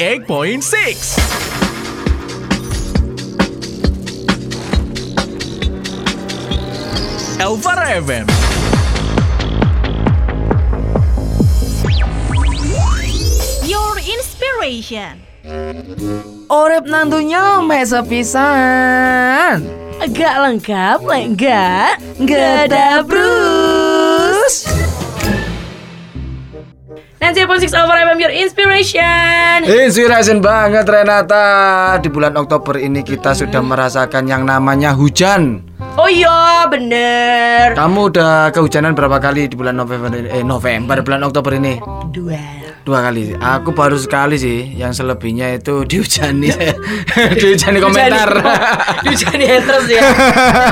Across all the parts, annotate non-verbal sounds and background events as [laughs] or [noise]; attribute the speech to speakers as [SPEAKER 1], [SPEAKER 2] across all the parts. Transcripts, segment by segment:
[SPEAKER 1] 98.6 Elvara FM
[SPEAKER 2] Your inspiration.
[SPEAKER 3] Orep nantunya mesa pisan.
[SPEAKER 2] Agak lengkap, lek enggak?
[SPEAKER 3] Gada Bruce.
[SPEAKER 2] Nancy Upon Six Over FM Your Inspiration.
[SPEAKER 3] Inspirasi banget Renata. Di bulan Oktober ini kita sudah merasakan yang namanya hujan.
[SPEAKER 2] Oh iya, bener.
[SPEAKER 3] Kamu udah kehujanan berapa kali di bulan November ini? Eh November bulan Oktober ini?
[SPEAKER 2] Dua.
[SPEAKER 3] Dua kali. Aku baru sekali sih. Yang selebihnya itu [laughs] dihujani. dihujani
[SPEAKER 2] [laughs]
[SPEAKER 3] komentar.
[SPEAKER 2] Hujan haters ya.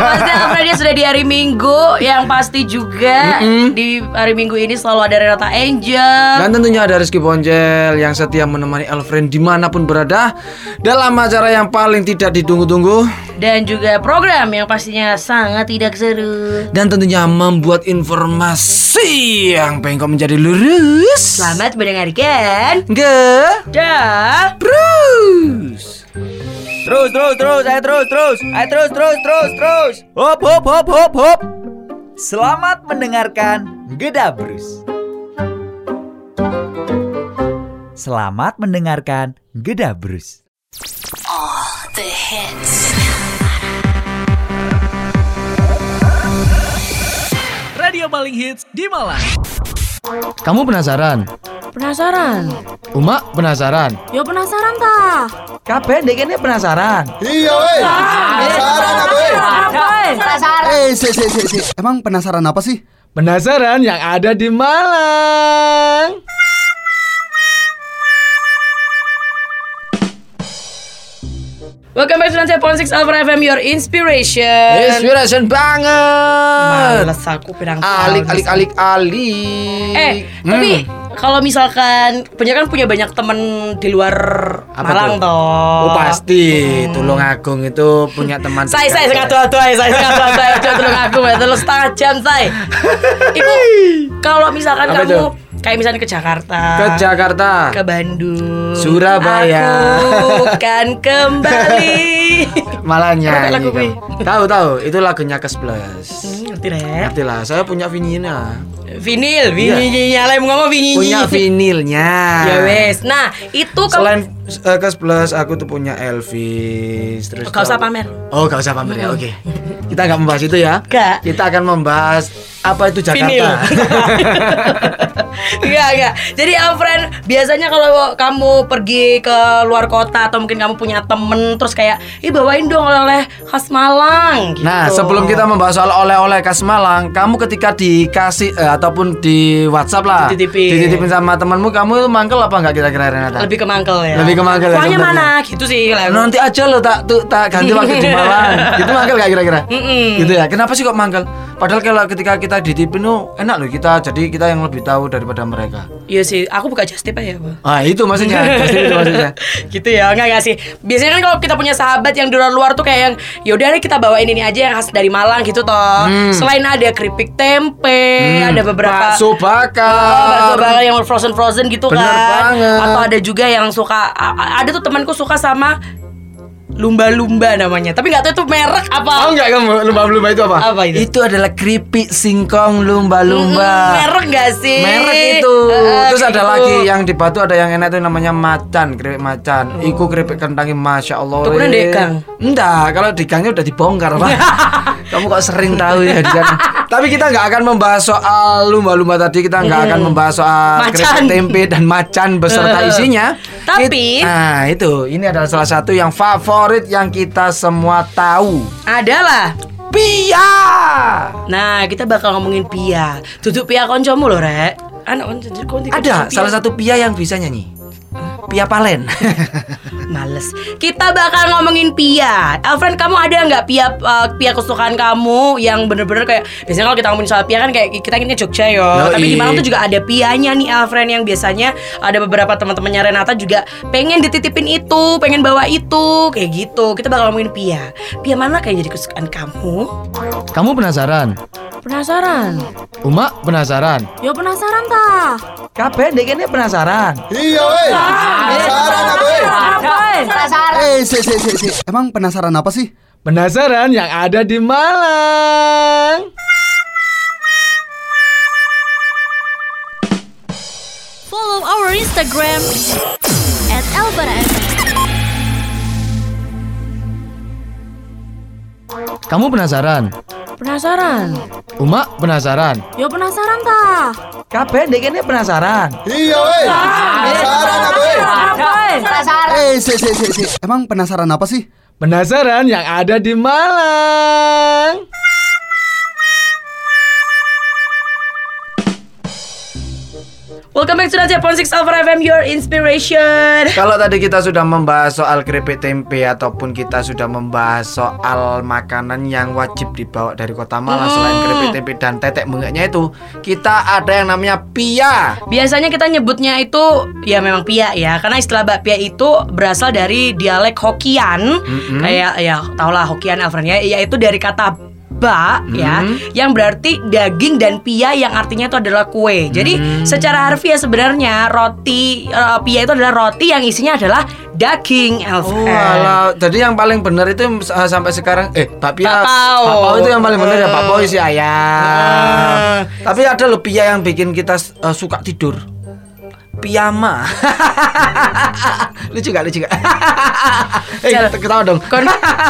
[SPEAKER 2] Pasti karena dia sudah di hari Minggu, yang pasti juga di hari Minggu ini selalu ada Renata Angel.
[SPEAKER 3] Dan tentunya ada Rizky Bonjel yang setia menemani Elfriend dimanapun berada dalam acara yang paling tidak ditunggu-tunggu
[SPEAKER 2] Dan juga program yang pastinya sangat tidak seru.
[SPEAKER 3] dan tentunya membuat informasi yang pengen kau menjadi lurus.
[SPEAKER 2] Selamat mendengarkan.
[SPEAKER 3] Ge,
[SPEAKER 2] Dah.
[SPEAKER 3] Bruce.
[SPEAKER 4] Terus, terus, terus, ayo terus, terus, ayo terus, terus, terus, terus. Hop, hop, hop, hop, hop. Selamat mendengarkan Gedabrus. Selamat mendengarkan Gedabrus.
[SPEAKER 1] Radio paling hits di Malang
[SPEAKER 3] Kamu penasaran?
[SPEAKER 2] Penasaran?
[SPEAKER 3] Uma penasaran?
[SPEAKER 2] Yo penasaran tak?
[SPEAKER 3] Kabeh dekene penasaran.
[SPEAKER 5] Iya weh Penasaran apa weh
[SPEAKER 2] Penasaran.
[SPEAKER 5] Eh si si si si Emang penasaran apa sih?
[SPEAKER 3] Penasaran yang ada di Malang.
[SPEAKER 2] Welcome back to Nancy Upon Six Alpha FM Your Inspiration.
[SPEAKER 3] Inspiration Eh, banget.
[SPEAKER 2] Males aku pirang
[SPEAKER 3] Alik,
[SPEAKER 2] tahun.
[SPEAKER 3] alik, alik, alik.
[SPEAKER 2] Eh, tapi
[SPEAKER 3] Hmm.
[SPEAKER 2] kalau misalkan punya kan punya banyak temen di luar
[SPEAKER 3] Apa
[SPEAKER 2] Malang
[SPEAKER 3] tuh?
[SPEAKER 2] toh.
[SPEAKER 3] Oh pasti, Tulungagung itu punya teman.
[SPEAKER 2] Saya saya
[SPEAKER 3] dekat.
[SPEAKER 2] sengat dua dua, saya sengat dua dua, saya tolong aku, saya tolong setengah jam saya.
[SPEAKER 3] [laughs]
[SPEAKER 2] Itu kalau misalkan
[SPEAKER 3] Apa
[SPEAKER 2] kamu
[SPEAKER 3] tuh?
[SPEAKER 2] kayak misalnya ke Jakarta.
[SPEAKER 3] ke Jakarta.
[SPEAKER 2] ke Bandung
[SPEAKER 3] Ah. Surabaya.
[SPEAKER 2] Aku kan kembali
[SPEAKER 3] Malah nyanyi.
[SPEAKER 2] lagu
[SPEAKER 3] kamu.
[SPEAKER 2] gue?
[SPEAKER 3] Tahu tahu, itu lagunya ke 11
[SPEAKER 2] Ngerti Ren?
[SPEAKER 3] [laughs] Ngerti lah, saya punya vinilnya.
[SPEAKER 2] Nah, Vinil, vinil, nyala yang ngomong vinil.
[SPEAKER 3] Punya vinilnya.
[SPEAKER 2] Ya wes. Nah, itu kalau
[SPEAKER 3] Selain eh, ke 11 aku tuh punya Elvis. Terus
[SPEAKER 2] Gak usah
[SPEAKER 3] tahu-
[SPEAKER 2] pamer.
[SPEAKER 3] Oh, gak usah pamer ya. Oke. [laughs] Kita nggak membahas itu ya.
[SPEAKER 2] Nggak.
[SPEAKER 3] Kita akan membahas apa itu [laughs]
[SPEAKER 2] vinil.
[SPEAKER 3] Jakarta.
[SPEAKER 2] Enggak, enggak. Jadi uh, friend, biasanya kalau kamu pergi ke luar kota atau mungkin kamu punya temen terus kayak, "Ih, bawain dong oleh-oleh khas Malang." Gitu.
[SPEAKER 3] Nah, sebelum kita membahas soal oleh-oleh khas Malang, kamu ketika dikasih eh, ataupun di WhatsApp lah,
[SPEAKER 2] Dititipin.
[SPEAKER 3] dititipin sama temanmu, kamu mangkel apa nggak kira-kira Renata?
[SPEAKER 2] lebih ke mangkel ya.
[SPEAKER 3] Lebih ke mangkel ya,
[SPEAKER 2] Kuahnya
[SPEAKER 3] sebenarnya. Nah.
[SPEAKER 2] mana? Gitu sih. lah.
[SPEAKER 3] nanti aja lo tak tuh tak ganti waktu
[SPEAKER 2] [laughs]
[SPEAKER 3] di Malang. Itu mangkel nggak kira-kira?
[SPEAKER 2] Mm-mm.
[SPEAKER 3] Gitu ya. Kenapa sih kok mangkel? Padahal kalau ketika kita dititipin tuh enak loh kita, jadi kita yang lebih tahu daripada mereka.
[SPEAKER 2] Iya sih, aku buka just tip aja, Bu.
[SPEAKER 3] Ah itu maksudnya, pasti itu maksudnya.
[SPEAKER 2] [laughs] gitu ya enggak enggak sih biasanya kan kalau kita punya sahabat yang di luar luar tuh kayak yang yaudah deh kita bawain ini aja yang khas dari Malang gitu toh
[SPEAKER 3] Hmm.
[SPEAKER 2] selain ada keripik tempe ada beberapa
[SPEAKER 3] Bakso
[SPEAKER 2] Oh, bakso
[SPEAKER 3] bakar.
[SPEAKER 2] bakar yang frozen frozen gitu
[SPEAKER 3] Bener
[SPEAKER 2] kan
[SPEAKER 3] banget.
[SPEAKER 2] atau ada juga yang suka a- a- ada tuh temanku suka sama lumba-lumba namanya tapi nggak tahu itu merek
[SPEAKER 3] Tahu
[SPEAKER 2] apa
[SPEAKER 3] nggak kamu lumba-lumba itu apa?
[SPEAKER 2] Apa itu?
[SPEAKER 3] adalah keripik singkong
[SPEAKER 2] Mm,
[SPEAKER 3] lumba-lumba.
[SPEAKER 2] merek nggak sih
[SPEAKER 3] Merek itu.
[SPEAKER 2] Eh,
[SPEAKER 3] Terus ada
[SPEAKER 2] gitu.
[SPEAKER 3] lagi yang di Batu ada yang enak itu namanya macan, keripik macan.
[SPEAKER 2] Oh.
[SPEAKER 3] Iku keripik kentangi masya Allah.
[SPEAKER 2] Tukunan
[SPEAKER 3] Re.
[SPEAKER 2] di gang?
[SPEAKER 3] Enggak, kalau di gangnya udah dibongkar
[SPEAKER 2] [laughs]
[SPEAKER 3] pak. Kamu kok sering tahu ya di sana. Tapi kita nggak akan membahas soal lumba-lumba tadi. Kita nggak akan membahas soal
[SPEAKER 2] Macan.
[SPEAKER 3] keripik tempe dan macan beserta isinya.
[SPEAKER 2] Tapi-
[SPEAKER 3] It- nah itu ini adalah salah satu yang favorit yang kita semua tahu.
[SPEAKER 2] adalah
[SPEAKER 3] Pia.
[SPEAKER 2] Nah, kita bakal ngomongin Pia. Duduk Pia koncomu loh, Rek. Anak konco konco- konco-
[SPEAKER 3] Ada
[SPEAKER 2] Pia.
[SPEAKER 3] salah satu pia yang bisa nyanyi. Pia Palen. [laughs]
[SPEAKER 2] Males. Kita bakal ngomongin Pia. Alfred, kamu ada nggak Pia eh, Pia kesukaan kamu yang bener-bener kayak biasanya kalau kita ngomongin soal Pia kan kayak kita ini Jogja yo.
[SPEAKER 3] Yoi.
[SPEAKER 2] Tapi di Malang tuh juga ada Pianya nih Alfred yang biasanya ada beberapa teman-temannya Renata juga pengen dititipin itu, pengen bawa itu kayak gitu. Kita bakal ngomongin Pia. Pia mana kayak jadi kesukaan kamu?
[SPEAKER 3] Kamu penasaran?
[SPEAKER 6] Penasaran?
[SPEAKER 7] Uma penasaran.
[SPEAKER 6] Ya penasaran ta?
[SPEAKER 7] Kabeh ndek kene penasaran.
[SPEAKER 5] Iya woi. Penasaran apa woi?
[SPEAKER 2] Ah,
[SPEAKER 6] Penasaran.
[SPEAKER 5] Eh, si, si, si, si. Emang penasaran apa sih?
[SPEAKER 7] Penasaran yang ada di Malang.
[SPEAKER 6] Follow our Instagram at Elbara
[SPEAKER 7] Kamu penasaran?
[SPEAKER 6] Penasaran?
[SPEAKER 7] Uma penasaran.
[SPEAKER 6] Ya penasaran ta?
[SPEAKER 7] Kabeh ndek kene penasaran.
[SPEAKER 5] Iya woi. Penasaran apa woi?
[SPEAKER 6] Penasaran.
[SPEAKER 5] Eh, si, si, si, si. Emang penasaran apa sih?
[SPEAKER 7] Penasaran yang ada di Malang.
[SPEAKER 2] Welcome back to the Japon 6 Alpha FM, your inspiration.
[SPEAKER 3] Kalau tadi kita sudah membahas soal keripik tempe ataupun kita sudah membahas soal makanan yang wajib dibawa dari kota Malang
[SPEAKER 7] Hmm.
[SPEAKER 3] selain keripik tempe dan tetek bengeknya itu, kita ada yang namanya pia.
[SPEAKER 2] Biasanya kita nyebutnya itu ya memang pia ya, karena istilah bakpia itu berasal dari dialek Hokian, kayak ya tau lah Hokian Alfred ya, yaitu dari kata ba ya, yang berarti daging dan pia yang artinya itu adalah kue. Jadi secara harfiah sebenarnya roti eh, pia itu adalah roti yang isinya adalah daging Alfred.
[SPEAKER 3] Walau, Oh, jadi yang paling benar itu eh, sampai sekarang eh Pak Pia,
[SPEAKER 2] Papau.
[SPEAKER 3] Pak Pau itu yang paling benar ya Pak Pau isi ayam. Tapi ada loh pia yang bikin kita eh, suka tidur. Piyama. [laughs] lucu gak lucu gak? [laughs] eh
[SPEAKER 2] Jal.
[SPEAKER 3] ketawa dong.
[SPEAKER 2] Kon,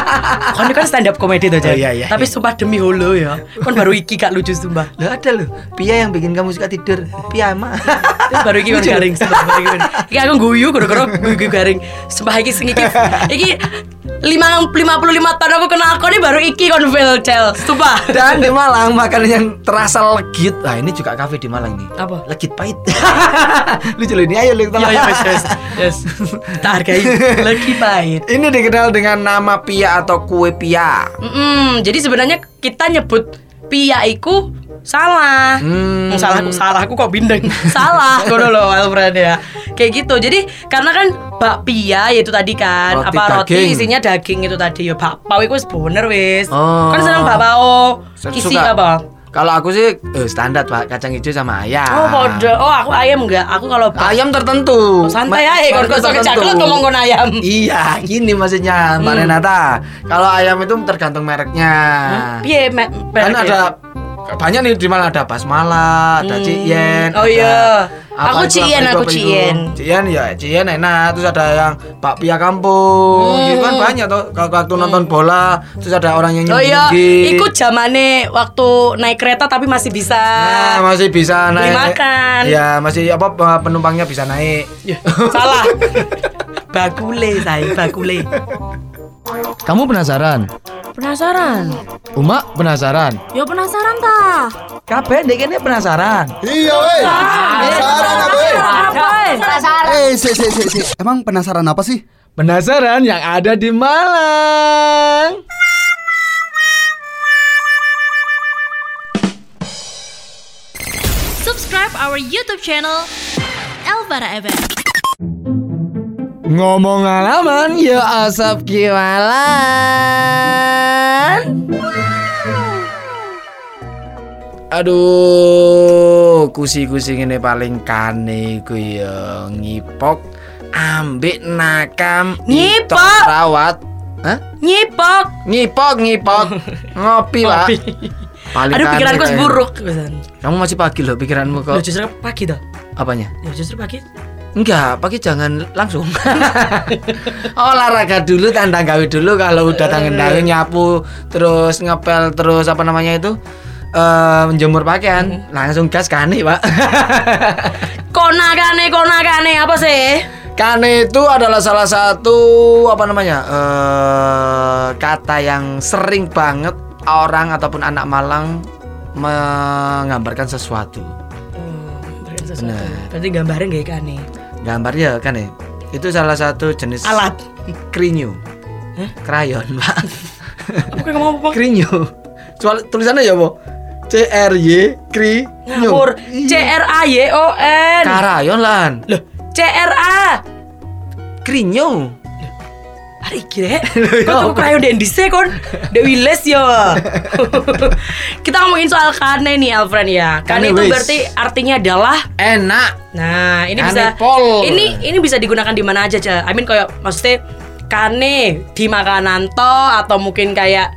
[SPEAKER 2] [laughs] kon kan stand up comedy tuh Jan.
[SPEAKER 3] Oh, iya, iya.
[SPEAKER 2] Tapi sumpah demi holo ya. Kon baru iki gak lucu sumpah.
[SPEAKER 3] Lah ada loh, pia yang bikin kamu suka tidur. Piyama.
[SPEAKER 2] Terus baru iki kon garing sumpah. Baru iki kon- Iki aku guyu kuro-kuro guyu garing. Sumpah iki sing iki iki lima- 55 tahun aku kenal kon ini baru iki kon fail cel. Sumpah.
[SPEAKER 3] [laughs] Dan di Malang makanan yang terasa legit. Nah, ini juga kafe di Malang nih.
[SPEAKER 2] Apa?
[SPEAKER 3] Legit pahit. [laughs] Lucu loh ini. Ayo lu kita
[SPEAKER 2] Ya ya
[SPEAKER 3] makan.
[SPEAKER 2] yes yes. Yes. [laughs] Tak hargai. Lagi baik.
[SPEAKER 3] Ini dikenal dengan nama pia atau kue pia.
[SPEAKER 2] Mm-mm, jadi sebenarnya kita nyebut pia iku salah.
[SPEAKER 3] Hmm.
[SPEAKER 2] Salah aku salah aku kok
[SPEAKER 3] [laughs]
[SPEAKER 2] bindeng. salah. Ngono loh Alfred ya. Kayak gitu. Jadi karena kan bakpia yaitu tadi kan
[SPEAKER 3] Roti
[SPEAKER 2] apa
[SPEAKER 3] daging.
[SPEAKER 2] roti isinya daging itu tadi ya bakpao iku wis bener wis.
[SPEAKER 3] Oh.
[SPEAKER 2] Kan seneng bakpao.
[SPEAKER 3] Saya
[SPEAKER 2] Isi
[SPEAKER 3] suka.
[SPEAKER 2] apa?
[SPEAKER 3] Kalau aku sih eh, standar Pak, kacang hijau sama ayam.
[SPEAKER 2] Oh, podo. Oh, aku ayam enggak. Aku kalau bak-
[SPEAKER 3] Ayam
[SPEAKER 2] Oh,
[SPEAKER 3] tertentu.
[SPEAKER 2] santai
[SPEAKER 3] Ma-
[SPEAKER 2] aja kon
[SPEAKER 3] market
[SPEAKER 2] kosong
[SPEAKER 3] tertentu.
[SPEAKER 2] kecaklek ngomong Hmm. kon ayam.
[SPEAKER 3] Iya, gini maksudnya Mbak Renata. Kalau ayam itu tergantung mereknya.
[SPEAKER 2] Piye, Mek?
[SPEAKER 3] kan ada banyak nih di mana ada basmala, ada
[SPEAKER 2] Hmm.
[SPEAKER 3] Cien.
[SPEAKER 2] Oh
[SPEAKER 3] ada
[SPEAKER 2] iya.
[SPEAKER 3] apa
[SPEAKER 2] Aku
[SPEAKER 3] itu,
[SPEAKER 2] Cien, aku
[SPEAKER 3] apa itu, apa itu.
[SPEAKER 2] Cien.
[SPEAKER 3] Cien ya, Cien enak. Terus ada yang bakpia kampung.
[SPEAKER 2] Hmm.
[SPEAKER 3] Gitu kan banyak tuh kalau waktu nonton bola, terus ada orang yang
[SPEAKER 2] Oh iya,
[SPEAKER 3] nyembunyi.
[SPEAKER 2] ikut zamane waktu naik kereta tapi masih bisa.
[SPEAKER 3] Nah, masih bisa
[SPEAKER 2] Beli
[SPEAKER 3] naik.
[SPEAKER 2] makan. Iya.
[SPEAKER 3] Iya, masih apa penumpangnya bisa naik. [laughs]
[SPEAKER 2] Salah. Bagule saya, bagule.
[SPEAKER 7] Kamu penasaran?
[SPEAKER 6] Penasaran?
[SPEAKER 7] Uma penasaran.
[SPEAKER 6] Ya penasaran ta?
[SPEAKER 7] Kabeh ndek kene penasaran.
[SPEAKER 5] Iya woi. Penasaran apa eh? woi?
[SPEAKER 6] Penasaran.
[SPEAKER 5] Eh, si, si, si, si. Emang penasaran apa sih?
[SPEAKER 7] Penasaran yang ada di Malang.
[SPEAKER 6] Subscribe our YouTube channel Elbara FM.
[SPEAKER 7] Ngomong alaman, ya asap kiwalan.
[SPEAKER 3] Aduh, kusi-kusi ngene paling kane iku ya ngipok ambek nakam
[SPEAKER 2] Ngipok?
[SPEAKER 3] itok rawat. Hah?
[SPEAKER 2] Nyipok.
[SPEAKER 3] Ngipok, ngipok. Ngopi, Pak. Paling
[SPEAKER 2] Aduh
[SPEAKER 3] kane
[SPEAKER 2] pikiranku
[SPEAKER 3] kayak-
[SPEAKER 2] seburuk.
[SPEAKER 3] Kamu masih pagi loh pikiranmu
[SPEAKER 2] Loh
[SPEAKER 3] kok.
[SPEAKER 2] justru pagi dah.
[SPEAKER 3] Apanya?
[SPEAKER 2] Ya justru pagi.
[SPEAKER 3] Enggak, pagi jangan langsung. [laughs] Olahraga dulu, tandang gawe dulu kalau udah tangan tangan nyapu, terus ngepel, terus apa namanya itu? eh menjemur pakaian, langsung gas kane, Pak. [laughs]
[SPEAKER 2] Konakane konakane apa sih?
[SPEAKER 3] Kane itu adalah salah satu apa namanya eh kata yang sering banget orang ataupun anak Malang menggambarkan sesuatu.
[SPEAKER 2] Berarti gambarnya gak ikane.
[SPEAKER 3] Gambarnya kane iya, kan ya? itu salah satu jenis
[SPEAKER 2] Alat.
[SPEAKER 3] krinyu, krayon pak, [laughs]
[SPEAKER 2] Aku kayak ngomong apa?
[SPEAKER 3] krinyu. Soal- tulisannya ya bu, C R Y krinyu.
[SPEAKER 2] Ngawur. C R A Y O N.
[SPEAKER 3] Karayon lan,
[SPEAKER 2] Loh, C R A.
[SPEAKER 3] krinyu.
[SPEAKER 2] Ari
[SPEAKER 3] [laughs]
[SPEAKER 2] kira eh.
[SPEAKER 3] ya
[SPEAKER 2] Kau tuh krayon dendise kon Dewi les ya [laughs] Kita ngomongin soal kane nih Alfred ya Kane
[SPEAKER 3] Kane
[SPEAKER 2] itu
[SPEAKER 3] wis.
[SPEAKER 2] berarti artinya adalah
[SPEAKER 3] Enak.
[SPEAKER 2] Nah, ini
[SPEAKER 3] Kane
[SPEAKER 2] bisa
[SPEAKER 3] pol.
[SPEAKER 2] ini ini bisa digunakan di mana aja, Ca. I mean kayak maksudnya kane di makanan to atau mungkin kayak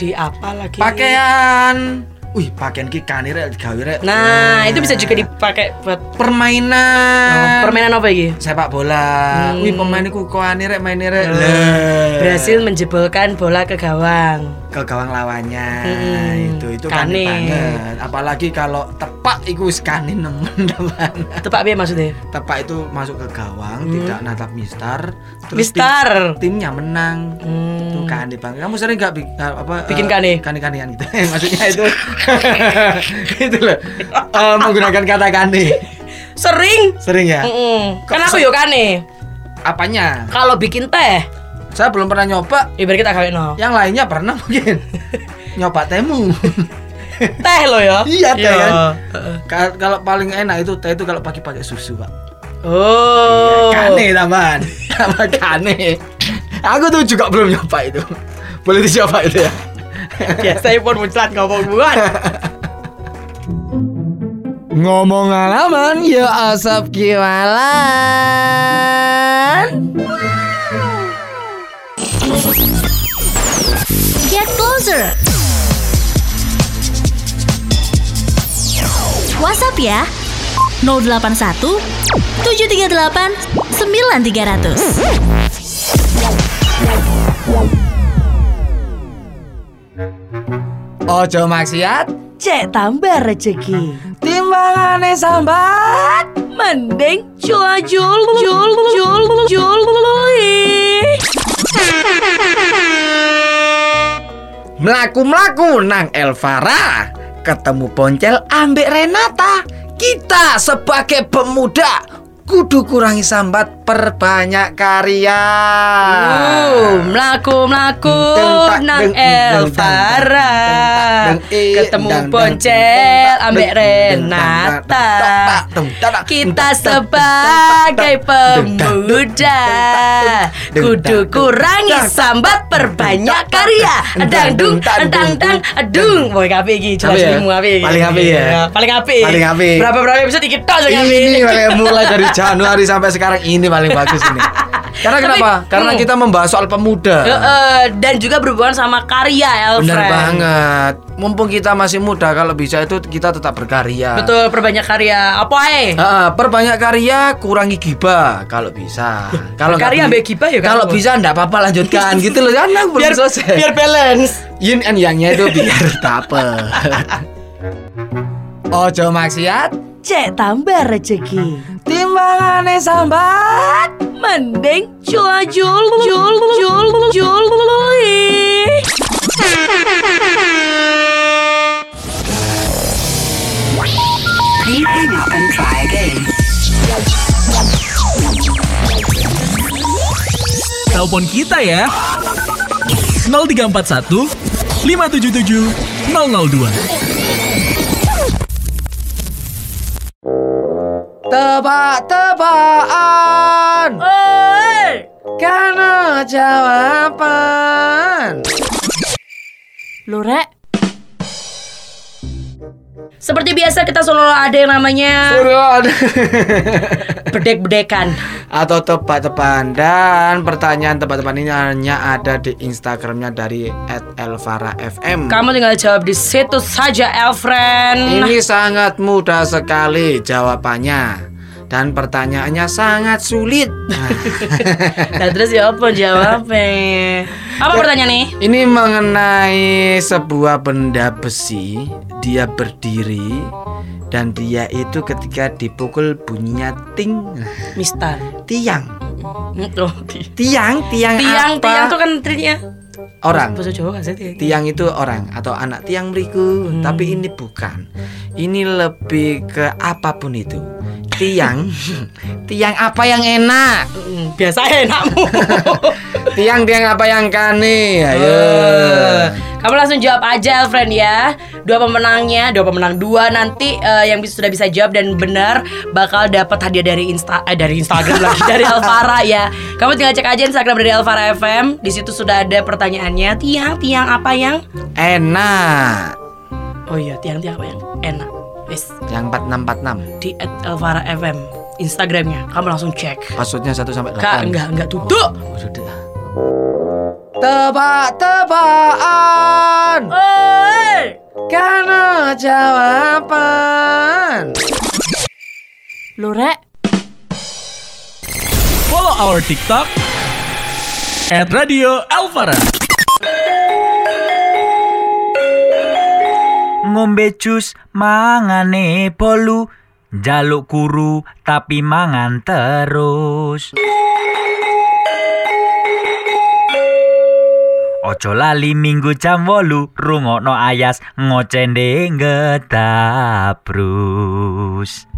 [SPEAKER 2] di apa lagi?
[SPEAKER 3] Pakaian. Wih, pakaian ki kane rek gawe rek. Oh,
[SPEAKER 2] Nah, itu bisa juga dipakai buat eh,
[SPEAKER 3] permainan. Hmm.
[SPEAKER 2] permainan apa iki?
[SPEAKER 3] sepak bola. Wih, pemain iku koane rek maine rek. Lah.
[SPEAKER 2] Berhasil menjebolkan bola ke gawang.
[SPEAKER 3] ke gawang lawannya
[SPEAKER 2] Mm-mm.
[SPEAKER 3] itu itu kan
[SPEAKER 2] Kane.
[SPEAKER 3] banget apalagi kalau tepak itu sekane nemen [laughs] teman.
[SPEAKER 2] Tepak piye maksudnya?
[SPEAKER 3] tepak itu masuk ke gawang tidak natap mistar tim-
[SPEAKER 2] Mister.
[SPEAKER 3] timnya menang
[SPEAKER 2] Hmm.
[SPEAKER 3] itu kane banget kamu sering nggak bi- apa
[SPEAKER 2] Bikin
[SPEAKER 3] eh,
[SPEAKER 2] kane?
[SPEAKER 3] kane kanean gitu [laughs] maksudnya
[SPEAKER 2] [laughs]
[SPEAKER 3] itu itu loh Eh, menggunakan kata kane
[SPEAKER 2] Sering?
[SPEAKER 3] sering ya
[SPEAKER 2] Mm-mm. Kan
[SPEAKER 3] Kok
[SPEAKER 2] aku
[SPEAKER 3] se-
[SPEAKER 2] yo kane.
[SPEAKER 3] apanya
[SPEAKER 2] Kalau bikin teh,
[SPEAKER 3] saya belum pernah nyoba
[SPEAKER 2] ya biar kita kawin no.
[SPEAKER 3] yang lainnya pernah
[SPEAKER 2] [laughs]
[SPEAKER 3] mungkin nyoba temu
[SPEAKER 2] Teh lo ya.
[SPEAKER 3] Iya, teh,
[SPEAKER 2] Iya.
[SPEAKER 3] kan? Ka- kalau paling enak itu teh itu kalau pagi pakai susu pak
[SPEAKER 2] Oh.
[SPEAKER 3] kane taman apa kane aku tuh juga belum nyoba itu boleh dicoba itu ya
[SPEAKER 2] Biasanya pun muncrat ngomong buat.
[SPEAKER 7] Ngomong alaman ya asap kiwalan.
[SPEAKER 6] Get closer. WhatsApp ya. 081 738 9300.
[SPEAKER 7] Ojo maksiat.
[SPEAKER 2] Cek tambah rezeki.
[SPEAKER 7] Timbangane sambat.
[SPEAKER 2] Mending cula jul jul jul jul
[SPEAKER 3] melaku melaku nang Elvara ketemu Poncel ambek Renata kita sebagai pemuda kudu kurangi sambat perbanyak karya
[SPEAKER 2] Uh, melaku melaku
[SPEAKER 3] Deng, tak,
[SPEAKER 2] nang
[SPEAKER 3] deng, deng,
[SPEAKER 2] Elvara
[SPEAKER 3] deng, deng, deng, deng,
[SPEAKER 2] ketemu
[SPEAKER 3] deng,
[SPEAKER 2] Poncel
[SPEAKER 3] deng, deng,
[SPEAKER 2] ambek
[SPEAKER 3] deng,
[SPEAKER 2] Renata
[SPEAKER 3] deng, deng, deng,
[SPEAKER 2] kita
[SPEAKER 3] deng, deng,
[SPEAKER 2] sebagai
[SPEAKER 3] deng, deng, deng,
[SPEAKER 2] pemuda
[SPEAKER 3] deng,
[SPEAKER 2] kudu
[SPEAKER 3] deng,
[SPEAKER 2] kurangi
[SPEAKER 3] deng,
[SPEAKER 2] sambat perbanyak karya dang dung dang dang dung boy kape iki jelas
[SPEAKER 7] Apik ya?
[SPEAKER 2] ilmu apik iki. Iya,
[SPEAKER 7] Paling apik ya?
[SPEAKER 2] paling api
[SPEAKER 3] Paling apik.
[SPEAKER 2] berapa berapa episode iki tok sing apik.
[SPEAKER 3] ini paling mulai dari Januari sampai sekarang ini paling bagus ini. Karena
[SPEAKER 2] Tapi,
[SPEAKER 3] kenapa? Karena
[SPEAKER 2] hmm.
[SPEAKER 3] kita membahas soal pemuda.
[SPEAKER 2] Heeh, dan juga berhubungan sama karya Elfriend.
[SPEAKER 3] Bener banget. Mumpung kita masih muda, kalau bisa itu kita tetap berkarya.
[SPEAKER 2] Betul, perbanyak karya. Apa eh?
[SPEAKER 3] Heeh, perbanyak karya, kurangi gibah kalau
[SPEAKER 2] [laughs]
[SPEAKER 3] bisa. Kalau nggak
[SPEAKER 2] Berkarya
[SPEAKER 3] bi-
[SPEAKER 2] ambek gibah ya, Kak?
[SPEAKER 3] Kalau bisa enggak apa-apa
[SPEAKER 2] [laughs]
[SPEAKER 3] lanjutkan gitu loh. Kan aku belum
[SPEAKER 2] Biar
[SPEAKER 3] selesai.
[SPEAKER 2] biar balance.
[SPEAKER 3] yin and yang-nya itu biar [laughs]
[SPEAKER 2] [laughs]
[SPEAKER 3] dapat.
[SPEAKER 7] Ojo maksiat.
[SPEAKER 2] Cek tambah rezeki.
[SPEAKER 7] Timbangane sambat.
[SPEAKER 2] Mending cula jul jul jul jul
[SPEAKER 1] Telepon kita ya. 0341 577 002.
[SPEAKER 7] Tebak-tebakan.
[SPEAKER 2] Oh.
[SPEAKER 7] Karena jawaban.
[SPEAKER 6] Lu rek,
[SPEAKER 2] Seperti biasa kita selalu ada yang namanya bedek-bedekan.
[SPEAKER 3] atau tebak-tebakan dan pertanyaan tebak-tebakan ini hanya ada di Instagramnya dari @elvara_fm.
[SPEAKER 2] Kamu tinggal jawab di situ saja, Elfriend.
[SPEAKER 3] Ini sangat mudah sekali jawabannya dan pertanyaannya sangat sulit. Nah,
[SPEAKER 2] [laughs] Nah, terus ya apa jawabnya? Apa pertanyaan nih?
[SPEAKER 3] [laughs] Ini mengenai sebuah benda besi, dia berdiri dan dia itu ketika dipukul bunyinya ting Nah,
[SPEAKER 2] Mister.
[SPEAKER 3] tiang.
[SPEAKER 2] Hmm, Oh, ti-
[SPEAKER 3] Tiang, tiang,
[SPEAKER 2] tiang,
[SPEAKER 3] apa?
[SPEAKER 2] tiang tuh kan triknya
[SPEAKER 3] orang.
[SPEAKER 2] Bahasa Jawa kan sih tiang.
[SPEAKER 3] Tiang itu orang atau anak
[SPEAKER 2] Hmm.
[SPEAKER 3] tiang beriku, tapi ini bukan. Ini lebih ke apapun itu. tiang [laughs] tiang apa yang enak
[SPEAKER 2] Hmm, Biasa enakmu.
[SPEAKER 3] tiang tiang apa yang kane ayo
[SPEAKER 2] Eh, Kamu langsung jawab aja, friend ya. Dua pemenangnya, dua pemenang dua nanti eh, yang bisa, sudah bisa jawab dan benar bakal dapat hadiah dari insta eh, dari Instagram lagi dari Alvara ya. Kamu tinggal cek aja Instagram dari Alvara FM. Di situ sudah ada pertanyaannya. Tiang, tiang apa yang?
[SPEAKER 3] enak
[SPEAKER 2] Oh iya, tiang, tiang apa yang? Enak. Wis
[SPEAKER 3] yang 4646
[SPEAKER 2] di at Alvara FM Instagramnya. Kamu langsung cek.
[SPEAKER 3] passwordnya 1 sampai 8
[SPEAKER 2] Kak, enggak, enggak tutup.
[SPEAKER 3] tebak-tebakan
[SPEAKER 2] Oi!
[SPEAKER 3] karena jawaban
[SPEAKER 6] Lurek
[SPEAKER 1] Follow our TikTok at Radio Alvara.
[SPEAKER 8] ngombe jus mangane bolu jaluk guru tapi mangan terus Ojo lali minggu jam wolu rungokno ayas ngocende ngedabrus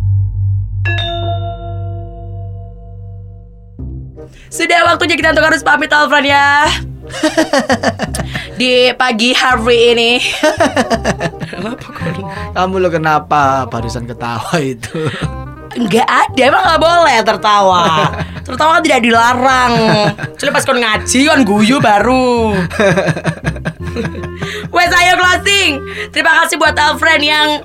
[SPEAKER 2] Sudah waktunya kita untuk harus pamit Alfred ya Di pagi hari ini
[SPEAKER 3] kamu lo kenapa barusan ketawa itu [laughs]
[SPEAKER 2] Nggak ada, emang nggak boleh tertawa Tertawa kan tidak dilarang Kecuali pas kon ngaji, kon guyu baru Wes ayo closing Terima kasih buat Alfred yang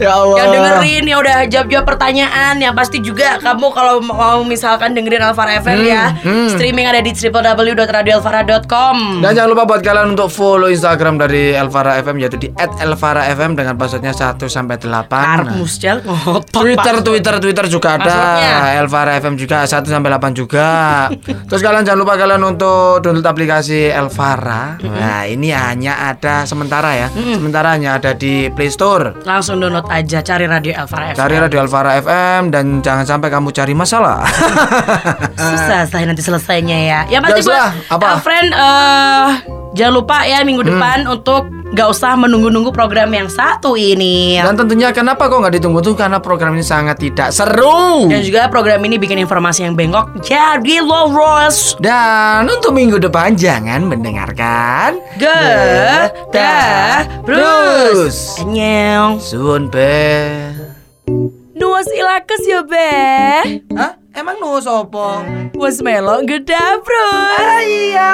[SPEAKER 3] ya Allah
[SPEAKER 2] yang dengerin yang udah jawab-jawab pertanyaan yang pasti juga kamu kalau mau misalkan dengerin Alfara FM ya streaming ada di www.radioalfara.com
[SPEAKER 3] Dan jangan lupa buat kalian untuk follow Instagram dari Elvara FM yaitu di @elvara_fm dengan passwordnya 1 sampai 8.
[SPEAKER 2] Karmus Jel ngotot,
[SPEAKER 3] Twitter,
[SPEAKER 2] Pak.
[SPEAKER 3] Twitter, Twitter juga ada.
[SPEAKER 2] Passwordnya.
[SPEAKER 3] Elvara FM juga 1 sampai 8 juga. Terus kalian jangan lupa kalian untuk download aplikasi Elvara. Nah, ini hanya ada sementara ya. Sementara hanya ada di Play Store.
[SPEAKER 2] Langsung download aja cari Radio Alfara FM
[SPEAKER 3] Cari Radio Elvara FM dan jangan sampai kamu cari masalah.
[SPEAKER 2] Susah saya nanti selesainya ya Ya pasti
[SPEAKER 3] Eh. Nggak usah,
[SPEAKER 2] buat
[SPEAKER 3] apa? Hmm.
[SPEAKER 2] Alfred eh, Jangan lupa ya minggu depan untuk Gak usah menunggu-nunggu program yang satu ini
[SPEAKER 3] Dan tentunya kenapa kok nggak ditunggu tuh karena program ini sangat tidak seru.
[SPEAKER 2] Dan juga program ini bikin informasi yang bengkok Jadi lo Rose
[SPEAKER 3] Dan untuk minggu depan jangan mendengarkan
[SPEAKER 2] Geda Bruce Nyong
[SPEAKER 3] Suun be.
[SPEAKER 2] Nuas ilakes ya beh
[SPEAKER 3] Hah? Emang nu sopo?
[SPEAKER 2] Was melok geda Bruce
[SPEAKER 3] Iya.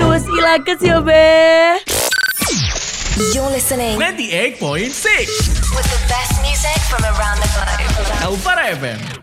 [SPEAKER 2] Nuas ilakes ya beh
[SPEAKER 9] You're listening
[SPEAKER 1] 98.6
[SPEAKER 9] with the best music from around the globe.
[SPEAKER 1] Alvara FM.